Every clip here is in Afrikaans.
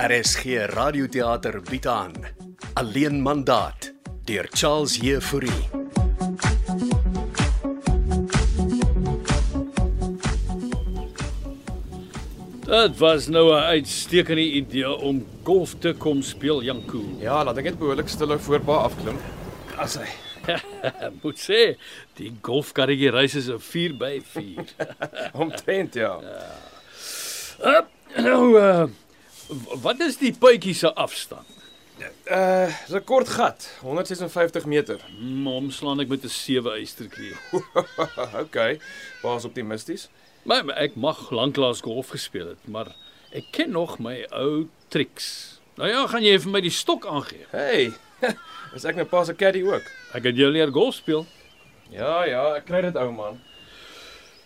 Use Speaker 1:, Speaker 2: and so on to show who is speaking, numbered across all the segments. Speaker 1: RSG Radioteater bied aan Alleen mandaat deur Charles Jefouri.
Speaker 2: Dit was nou 'n uitstekende idee om golf te kom speel, Janko.
Speaker 3: Ja, laat ek net behoorlik stil voorba afklim. As hy.
Speaker 2: Moet sê, die golfkarretjie reis is 'n 4 by 4.
Speaker 3: Omtrent ja.
Speaker 2: nou, uh, wat is die puitjie se afstand?
Speaker 3: Uh, rekord gat, 156 meter.
Speaker 2: Mm, Hom slaan ek met 'n 7 eysterknie.
Speaker 3: okay. Baas optimisties.
Speaker 2: Maar maar ek mag lanklaas golf gespeel het, maar ek ken nog my ou triks. Nou ja, gaan jy vir my die stok aangee?
Speaker 3: Hey. Is ek nou pas 'n caddy ook?
Speaker 2: Ek het jou leer golf speel.
Speaker 3: Ja, ja, ek kry dit ou man.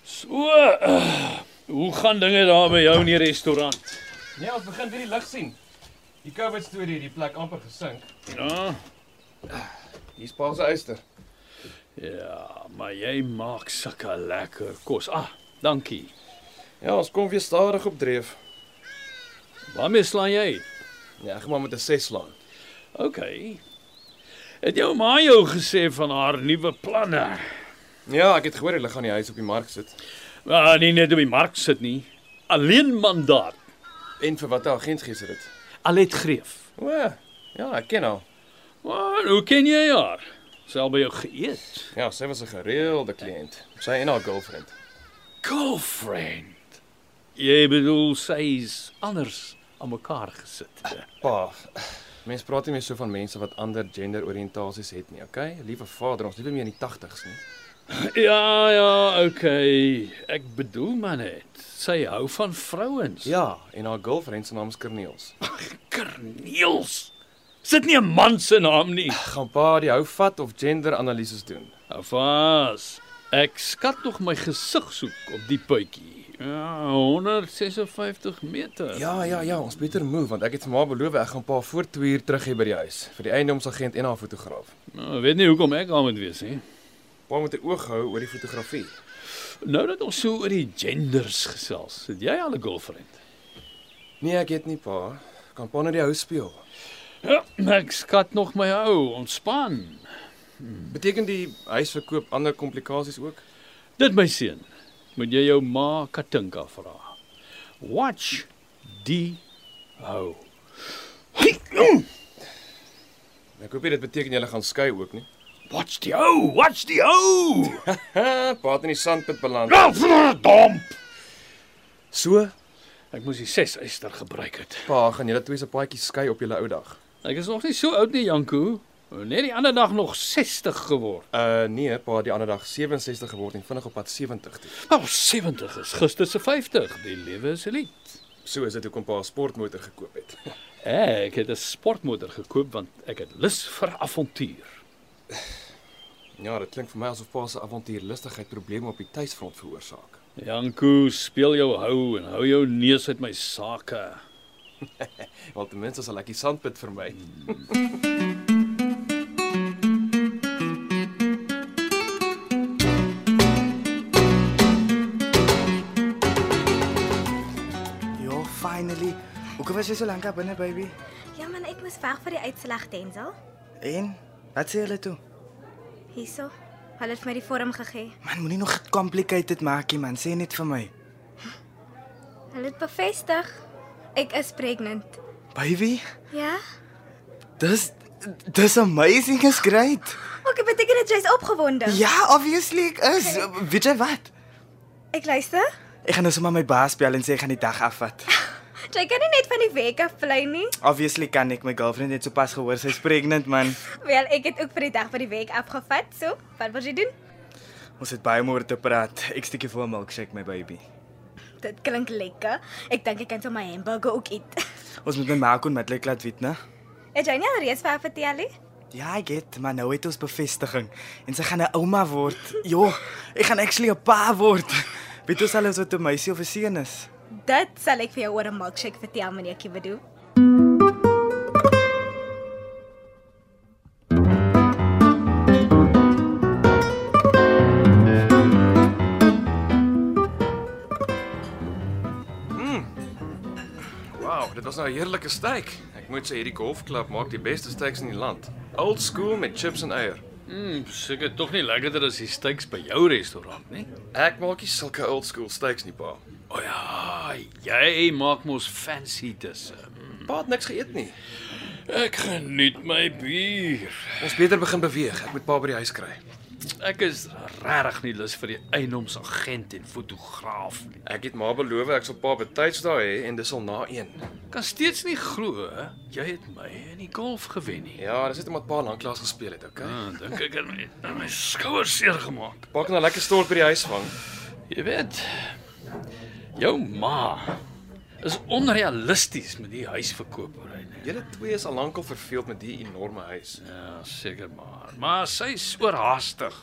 Speaker 2: So, uh, hoe gaan dinge daar by jou in die restaurant?
Speaker 3: Nee, ons begin weer die lig sien. Die COVID storie het die plek amper gesink.
Speaker 2: Ja.
Speaker 3: Hier's pa se uister.
Speaker 2: Ja, maar jy maak sulke lekker kos. Ah, dankie.
Speaker 3: Ja, ons kom weer stadig op dreef.
Speaker 2: Waarmee slaan jy?
Speaker 3: Ja, ek gaan maar met 'n 6 slaan.
Speaker 2: OK. Het jou ma jou gesê van haar nuwe planne?
Speaker 3: Ja, ek het gehoor hulle gaan die huis op die mark sit.
Speaker 2: Maar nie net op die mark sit nie. Alleen mandaat.
Speaker 3: En vir watter agent gee dit?
Speaker 2: Alet Greef.
Speaker 3: O, ja, ek ken haar.
Speaker 2: Maar hoe ken jy haar? Sal by jou geëet.
Speaker 3: Ja, sy was 'n gereelde kliënt. Sy en haar girlfriend.
Speaker 2: Girlfriend. Jy bedoel sy's anders aan mekaar gesit.
Speaker 3: Pa, mense praat nie meer so van mense wat ander genderoriëntasies het nie, okay? Liewe vader, ons leef nie meer in die 80's nie.
Speaker 2: Ja, ja, OK. Ek bedoel maar net, sy hou van vrouens.
Speaker 3: Ja, en haar girlfriend se naam is Kerniels.
Speaker 2: Kerneels. Sit nie 'n man se naam nie.
Speaker 3: Gaan pa die hou vat of genderanalises doen?
Speaker 2: Afas. Ek skat nog my gesig soek op die puitjie. Ja, 156 meter.
Speaker 3: Ja, ja, ja, ons beter move want ek het vir ma beloof ek gaan pa voor 2 uur terug hê by die huis vir die eiendomsagent en haar fotograaf.
Speaker 2: Nou, ek weet nie hoekom ek aan moet wees nie.
Speaker 3: Pa moet 'n oog hou oor die fotografie.
Speaker 2: Nou dat ons so oor die genders gesels, het jy al 'n girlfriend?
Speaker 3: Nee, ek het nie pa. Kan pa net die huis speel.
Speaker 2: Ja, ek skat nog my ou, ontspan.
Speaker 3: Beteken die huisverkoop ander komplikasies ook?
Speaker 2: Dit my seun, moet jy jou ma Katinka vra. Watch die hou. mm.
Speaker 3: Ek hoop nie dit beteken jy gaan skei ook nie.
Speaker 2: Watch die hou, watch die hou.
Speaker 3: Ha, pa het in die sandpit beland.
Speaker 2: Verdomp.
Speaker 3: So
Speaker 2: Ek moes die 6 yster gebruik het.
Speaker 3: Pa, gaan julle twee se paadjies skei op julle ou dag?
Speaker 2: Ek is nog nie so oud nie, Janko. Net die ander dag nog 60 geword.
Speaker 3: Uh nee, pa, die ander dag 67 geword en vinnig op pad 70 toe.
Speaker 2: Maar 70 Nou, is gister se 50. Die lewe is 'n lied.
Speaker 3: So is dit hoekom pa 'n sportmotor gekoop het.
Speaker 2: Ek het 'n sportmotor gekoop want ek het lus vir avontuur.
Speaker 3: Ja, dit klink vir my asof pa se avontuurlustigheid probleme op die tuisfront veroorsaak.
Speaker 2: Janko, speel jou hou en hou jou neus uit my sake.
Speaker 3: Want ten minste sal ek die sandpit vermy.
Speaker 4: Ja, finally. Hoekom was jy so lank daar binne, baby?
Speaker 5: Ja man, ek moes weg vir die uitslag Denzel.
Speaker 4: En wat sê hulle toe?
Speaker 5: Hierso. Hulle het vir my die vorm gegee.
Speaker 4: Man, moenie nog complicated maak nie, man. Sê net vir my.
Speaker 5: Hulle het bevestig ek is pregnant.
Speaker 4: Baby,
Speaker 5: Ja?
Speaker 4: dis dis amazing, is great.
Speaker 5: Ook dit beteken dat jy's opgewonde.
Speaker 4: Ja, obviously ek is. Weet jy wat?
Speaker 5: Ek luister.
Speaker 4: Ek gaan nou sommer my baas bel en sê ek gaan die dag afvat.
Speaker 5: Jy kan nie net van die week af bly nie.
Speaker 4: Obviously kan ek my girlfriend net sopas gehoor sy's pregnant, man.
Speaker 5: Wel, ek het ook vir die dag van die week afgevat. So, wat wil jy doen?
Speaker 4: Ons het baie om oor te praat. Ek steek jou vir 'n milkshake, my baby.
Speaker 5: Dit klink lekker. Ek dink ek kan sommer 'n hamburger ook eet.
Speaker 4: Ons moet my maak en matlik laat weet, né?
Speaker 5: Het jy nie alreeds vir haar vertel nie?
Speaker 4: Ja, ek het, maar nou het ons bevestiging en sy gaan 'n ouma word. Jo, ek gaan actually 'n pa word. Weet ons al of dit 'n meisie of 'n seun is?
Speaker 5: Dit sal ek vir jou oor 'n milkshake vertel, meneer Kibedo.
Speaker 3: Wow, dit Dit was nou 'n heerlike steak. Ek moet sê hierdie golfklub maak die beste steaks in die land. Old school met chips en eier.
Speaker 2: Mm, seker tog nie lekkerder as die steaks by jou restaurant nie.
Speaker 3: Ek maak nie sulke old school steaks nie, pa.
Speaker 2: O ja, jy maak mos fancy disse.
Speaker 3: Pa het niks geëet nie.
Speaker 2: Ek geniet my bier.
Speaker 3: Ons beter begin beweeg. Ek moet pa by die huis kry.
Speaker 2: Ek is regtig nie lus vir die eienaarsagent en fotograaf nie.
Speaker 3: Ek het maar beloof ek sal pa betyds daar hê en dis al na 1.
Speaker 2: Kan steeds nie glo jy het my in die golf gewen nie.
Speaker 3: Ja, dis net omdat pa lanklaas gespeel het, okay?
Speaker 2: Ah, dink ek het my, het my skouers seer gemaak.
Speaker 3: Pa kan 'n lekker stort by die huis vang.
Speaker 2: Jy weet, jou ma is onrealisties met die nee. huisverkopery. nie.
Speaker 3: Julle twee is al lankal verveeld met die enorme huis.
Speaker 2: Ja, seker maar. Maar sy's oorhaastig.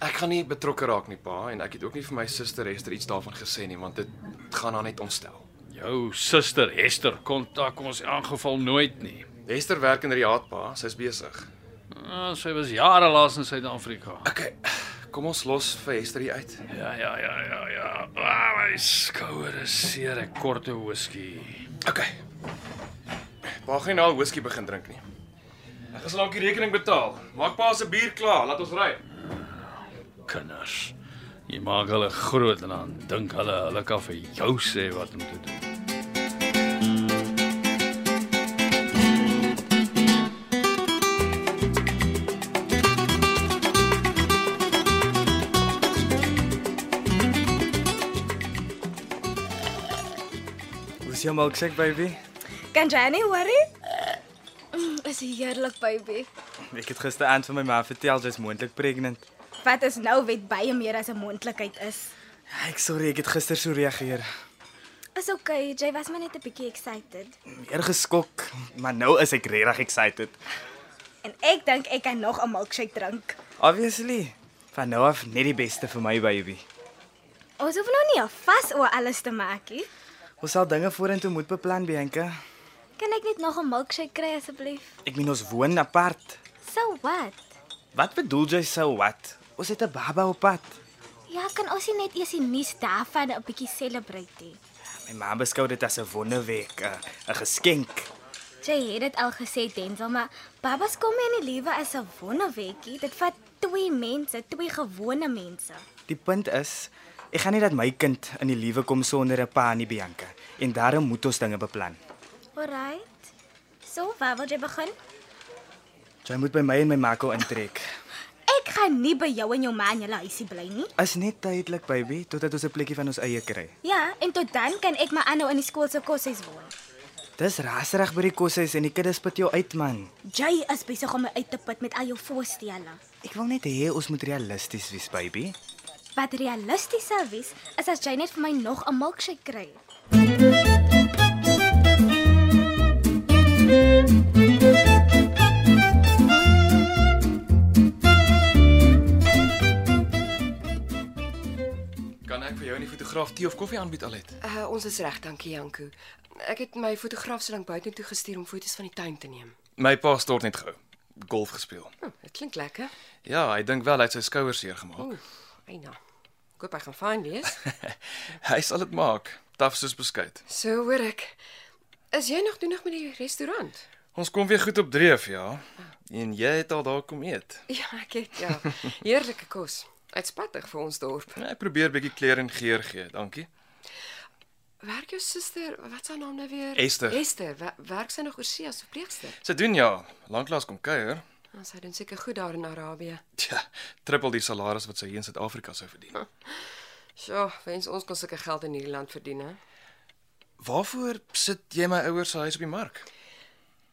Speaker 3: Ek gaan nie betrokke raak nie, pa, en ek het ook nie vir my suster Hester iets daarvan gesê nie, want dit gaan haar net ontstel.
Speaker 2: Jou suster Hester kontak ons in geval nooit nie.
Speaker 3: Hester werk in Riad, pa, sy's besig.
Speaker 2: Ah, sy was jare lank in Suid-Afrika.
Speaker 3: Okay. Kom ons los vir Hester hier uit.
Speaker 2: Ja, ja, ja, ja, ja. Ah, my skouer is seer, 'n korte whisky.
Speaker 3: Okay. Pa gaan nie nou whisky begin drink nie. Ek gaan dalk die rekening betaal. Maak pa se bier klaar, laat ons ry.
Speaker 2: Kinders. Jy maak hulle groot en dan dink hulle hulle kan vir jou sê wat om te doen.
Speaker 4: Hoe's jou milkshake baby?
Speaker 5: Kan jy nie worry? Mm, Is heerlik, baby.
Speaker 4: Ek het gisteraand vir my ma vertel jy's moontlik pregnant.
Speaker 5: Wat is nou wet baie meer as 'n moontlikheid is.
Speaker 4: Ja, Ek sorry, ek het gister so reageer.
Speaker 5: Is okay, jy was maar net 'n bietjie excited.
Speaker 4: Eer geskok, maar nou is ek regtig excited.
Speaker 5: En ek dink ek kan nog 'n milkshake drink.
Speaker 4: Obviously. Van nou af net die beste vir my baby.
Speaker 5: Ons hoef nou nie al vas oor alles te maak nie.
Speaker 4: Ons sal dinge vorentoe moet beplan, Bianca.
Speaker 5: Kan ek net nog 'n milkshake kry asseblief?
Speaker 4: Ek meen ons woon apart.
Speaker 5: So wat?
Speaker 4: Wat bedoel jy sou wat? Ons het 'n baba op pad.
Speaker 5: Ja, kan ons nie net eers die nuus daarvan 'n bietjie celebrate nie.
Speaker 4: My ma beskou dit as 'n wonderwerk, 'n 'n geskenk.
Speaker 5: Jy het dit al gesê, Denzel, maar babas kom nie in die lewe as 'n wonderwetjie. Dit vat twee mense, twee gewone mense.
Speaker 4: Die punt is, ek gaan nie dat my kind in die lewe kom sonder 'n pa nie, Bianca. En daarom moet ons dinge beplan.
Speaker 5: Alright. So, waar wil jy begin?
Speaker 4: Jy moet by my en my Marco intrek.
Speaker 5: Ek gaan nie by jou en jou ma in julle huisie bly nie.
Speaker 4: Is net tydelik, baby, totdat ons 'n plekkie van ons eie kry.
Speaker 5: Ja, en tot dan kan ek maar aanhou in die skool se koshuis woon.
Speaker 4: Dis raserig by die koshuis en die kinders spit jou uit, man.
Speaker 5: Jy is besig om my uit te put met al jou voorstelle.
Speaker 4: Ek wil net hê ons moet realisties wees, baby.
Speaker 5: Wat realisties sou wees, is as jy net vir my nog 'n milkshake kry.
Speaker 3: Kan ek vir jou en die fotograaf tee of koffie aanbied, Alet?
Speaker 6: Uh, ons is reg, dankie Janko. Ek het my fotograaf so lank buitentoe gestuur om foto's van die tuin te neem.
Speaker 3: My pa stort net gou. Golf gespeel.
Speaker 6: Hm, dit klink lekker.
Speaker 3: Ja, hy dink wel hy het sy skouers seer gemaak.
Speaker 6: Ooh, Eina. nou. Ek hoop hy gaan fyn wees.
Speaker 3: Hy sal dit maak. Taf soos beskuit.
Speaker 6: So hoor ek. Is jy nog doenig met die restaurant?
Speaker 3: Ons kom weer goed op dreef, ja. En jy het al daar kom eet.
Speaker 6: Ja, ek het ja. Heerlike kos. Uitspattig vir ons dorp.
Speaker 3: Ja, Ek probeer bietjie kleur en geur gee, dankie.
Speaker 6: Werk jou suster, wat is haar naam nou weer?
Speaker 3: Esther.
Speaker 6: Esther, wa- werk sy nog oor see as verpleegster?
Speaker 3: Sy doen ja, lanklaas kom kuier.
Speaker 6: Nou, sy doen seker goed daar in Arabië.
Speaker 3: Tja, triple die salaris wat sy hier in Suid-Afrika sou verdien.
Speaker 6: Sjoe, wens ons kon seker geld in hierdie land verdien, hè.
Speaker 3: Waarvoor sit jy my ouers se huis op die mark?
Speaker 6: Wel,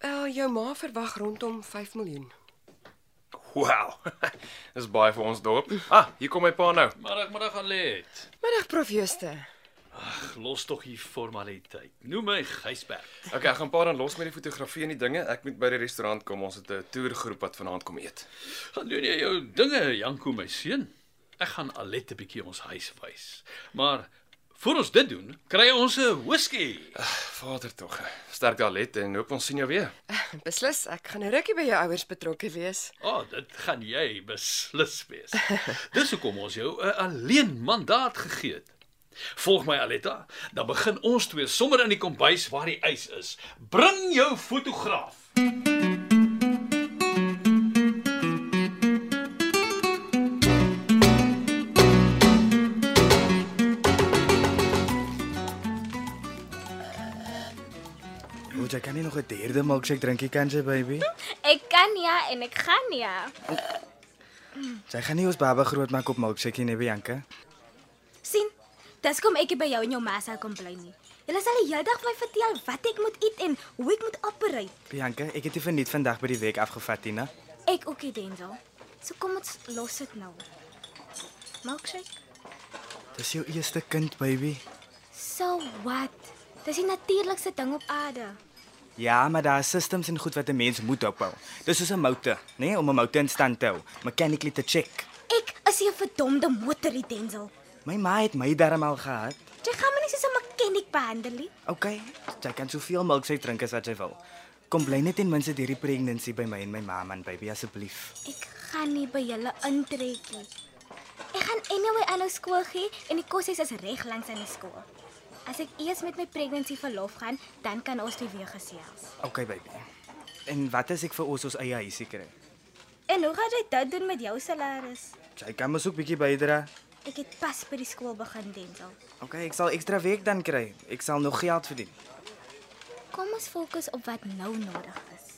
Speaker 6: Eh, jou ma verwag rondom 5 miljoen.
Speaker 3: Wow. Dis baie vir ons dorp. Ah, hier kom my pa nou.
Speaker 2: Middagmiddag aan lê.
Speaker 6: Middag prof Jooste.
Speaker 2: Los tog hier formaliteit. Noem my Gysbert.
Speaker 3: Okay, ek gaan pa dan los met die fotografie en die dinge. Ek moet by die restaurant kom. Ons het 'n toergroep wat vanaand kom eet.
Speaker 2: Gaan doen jy jou dinge, Janko my seun. Ek gaan Alet 'n bietjie ons huis wys. Maar voor ons dit doen, kry ons 'n whisky.
Speaker 3: Vader tog. Sterk Alet en hoop ons sien jou weer.
Speaker 6: Beslis, ek gaan 'n rukkie by jou ouers betrokke wees.
Speaker 2: Ah, oh, dit gaan jy beslis wees. Dis hoekom ons jou 'n alleen mandaat gegee het. Volg my Aletta, dan begin ons twee sommer in die kombuis waar die ys is. Bring jou fotograaf.
Speaker 4: Moet jy kan nie nog 'n derde milkshake drinkie kan jy baby?
Speaker 5: Ek kan ja en ek gaan ja.
Speaker 4: Sy gaan nie ons baba grootmaak op milkshake nie, Bianca.
Speaker 5: sien? Dis kom ek nie by jou en jou ma se kom bly nie. Julle sal die hele dag vir my vertel wat ek moet eet en hoe ek moet operate.
Speaker 4: Bianca, ek het dit verniet vandag by die week afgevat, Tina.
Speaker 5: Ek ook nie, Denzel. So kom ons los dit nou. Milkshake.
Speaker 4: Dis jou eerste kind, baby.
Speaker 5: So what? Dis die natuurlikste ding op aarde.
Speaker 4: Ja, maar daar is systems en goed wat 'n mens moet opbou. Dis soos 'n motor, né, nee? om 'n motor in stand te hou, mechanically te check.
Speaker 5: Ek is nie 'n verdomde motor, nie, Denzel.
Speaker 4: My ma het my darm al gehad.
Speaker 5: Jy gaan my nie soos 'n mechanic behandel nie.
Speaker 4: Okay, jy kan soveel milkshake drink as wat jy wil. Kom bly net ten minste hierdie pregnancy by my en my ma man, baby, asseblief.
Speaker 5: Ek gaan nie by julle intrek nie. Ek gaan anyway aanhou skool gee en die koshuis is reg langs aan die skool. As ek eers met my pregnancy verlof gaan, dan kan ons dit weer gesels.
Speaker 4: Okay, baby. En wat as ek vir ons ons eie huisie kry?
Speaker 5: En hoe gaan jy dit doen met jou salaris?
Speaker 4: Jy kan mos ook bietjie bydra.
Speaker 5: Ek het pas by die skool begin, Denzel.
Speaker 4: Okay, ek sal ekstra week dan kry. Ek sal nog geld verdien.
Speaker 5: Kom ons fokus op wat nou nodig is.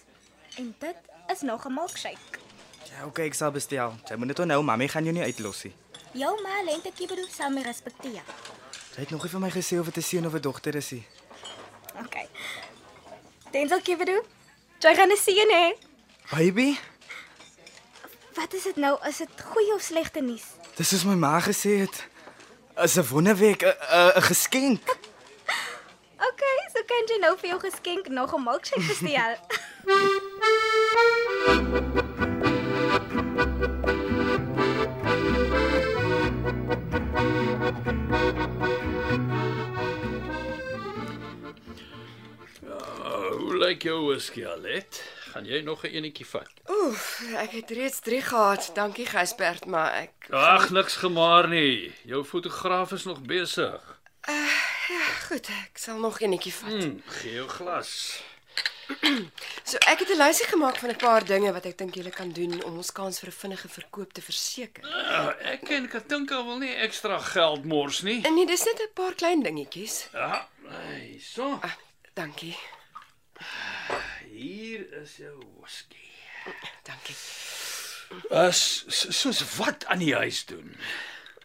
Speaker 5: En dit is nog 'n milkshake.
Speaker 4: Ja, okay, ek sal bestel. Jy moet net onthou, mammy gaan jou nie uitlos nie.
Speaker 5: Jou ma lente kibedo sal my respekteer.
Speaker 4: Sy het nog nie vir my gesê of dit 'n seun of 'n dogter is nie.
Speaker 5: Okay. Denzel kibedo, jy gaan 'n seën hê.
Speaker 4: Baby,
Speaker 5: Wat is dit nou? Is dit goeie of slegte nuus?
Speaker 4: dis soos my ma gesê het. Is 'n wonderwerk, 'n- 'n 'n geskenk.
Speaker 5: Okay, so kan jy nou vir jou geskenk nog 'n milkshake bestel.
Speaker 2: Uh, hoe lyk jou whisky, Alet? Gaan jy nog 'n enetjie vat?
Speaker 6: Oef, ek het reeds 3 gehad. Dankie Gysbert, maar ek
Speaker 2: Ag, niks gemaar nie. Jou fotograaf is nog besig.
Speaker 6: goed, ek sal nog enetjie vat.
Speaker 2: Hm, gee jou glas.
Speaker 6: So ek het 'n lysie gemaak van 'n paar dinge wat ek dink julle kan doen om ons kans vir 'n vinnige verkoop te verseker.
Speaker 2: Uh, ek en Katinka wil nie ekstra geld mors nie.
Speaker 6: En nee, dis net 'n paar klein dingetjies.
Speaker 2: Ja, hy, so.
Speaker 6: Ah, dankie.
Speaker 2: Hier is jou whisky.
Speaker 6: Dankie.
Speaker 2: As Eh, soos wat aan die huis doen.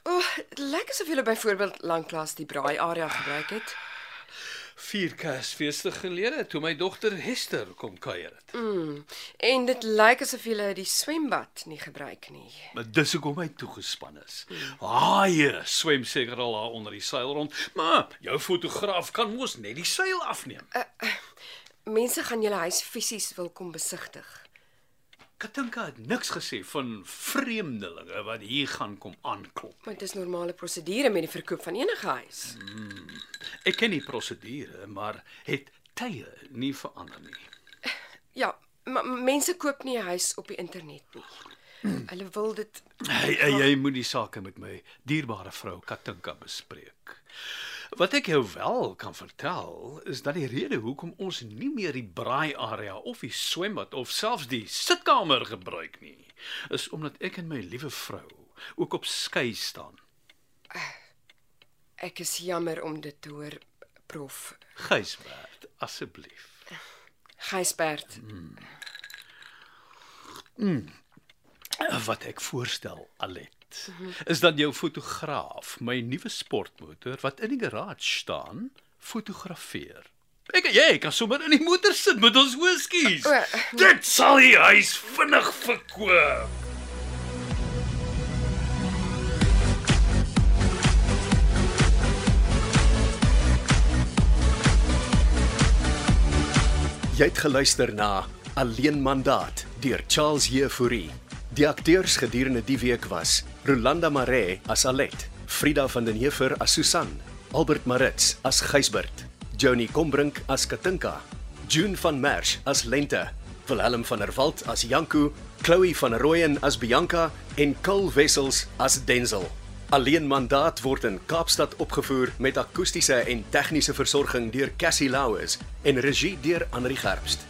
Speaker 6: O, oh, lyk asof julle byvoorbeeld lanklaas die braai area gebruik het.
Speaker 2: Vier Kersfeeste gelede toe my dogter Hester kom kuier het.
Speaker 6: Mm. En dit lyk asof julle die swembad nie gebruik nie.
Speaker 2: Maar dis hoekom hy toegespan is. Haai, swem seker al daar onder die seil rond, maar jou fotograaf kan mos net die seil afneem.
Speaker 6: Mense gaan julle huis fisies wil kom besigtig.
Speaker 2: Katinka het niks gesê van vreemdelinge wat hier gaan kom aanklop.
Speaker 6: Maar dis normale prosedure met die verkoop van enige huis.
Speaker 2: Ek ken die prosedure, maar het tye nie verander nie.
Speaker 6: Ja, maar mense koop nie 'n huis op die internet nie. Hulle wil dit
Speaker 2: Hey, hey, jy moet die sake met my dierbare vrou Katinka bespreek. Wat ek jou wel kan vertel is dat die rede hoekom ons nie meer die braai area of die swembad of selfs die sitkamer gebruik nie, is omdat ek en my liewe vrou ook op skei staan.
Speaker 6: Ek is jammer om dit te hoor, prof.
Speaker 2: Gysbert, asseblief.
Speaker 6: Gysbert.
Speaker 2: Wat ek voorstel, Alet, is dat jou fotograaf my nuwe sportmotor wat in die garage staan, fotografeer. Ek jy kan sommer in die motor sit met ons whiskies.
Speaker 6: O,
Speaker 2: Dit sal die huis vinnig verkoop.
Speaker 1: Jy het geluister na Alleen Mandaat deur Charles Jefouri. Die akteurs gedurende die week was Rolanda Maree as Alet, Frida van den Heever as Susan, Albert Maritz as Gysbert, Johnny Combrink as Katinka, June van Merch as Lente, Willem van der Walt as Janku, Chloe van Rooyen as Bianca en Kul Wessels as Denzel. Alleen Mandaat word in Kaapstad opgevoer met akoestiese en tegniese versorging deur Cassie Louws en regie deur Anri Gerbst.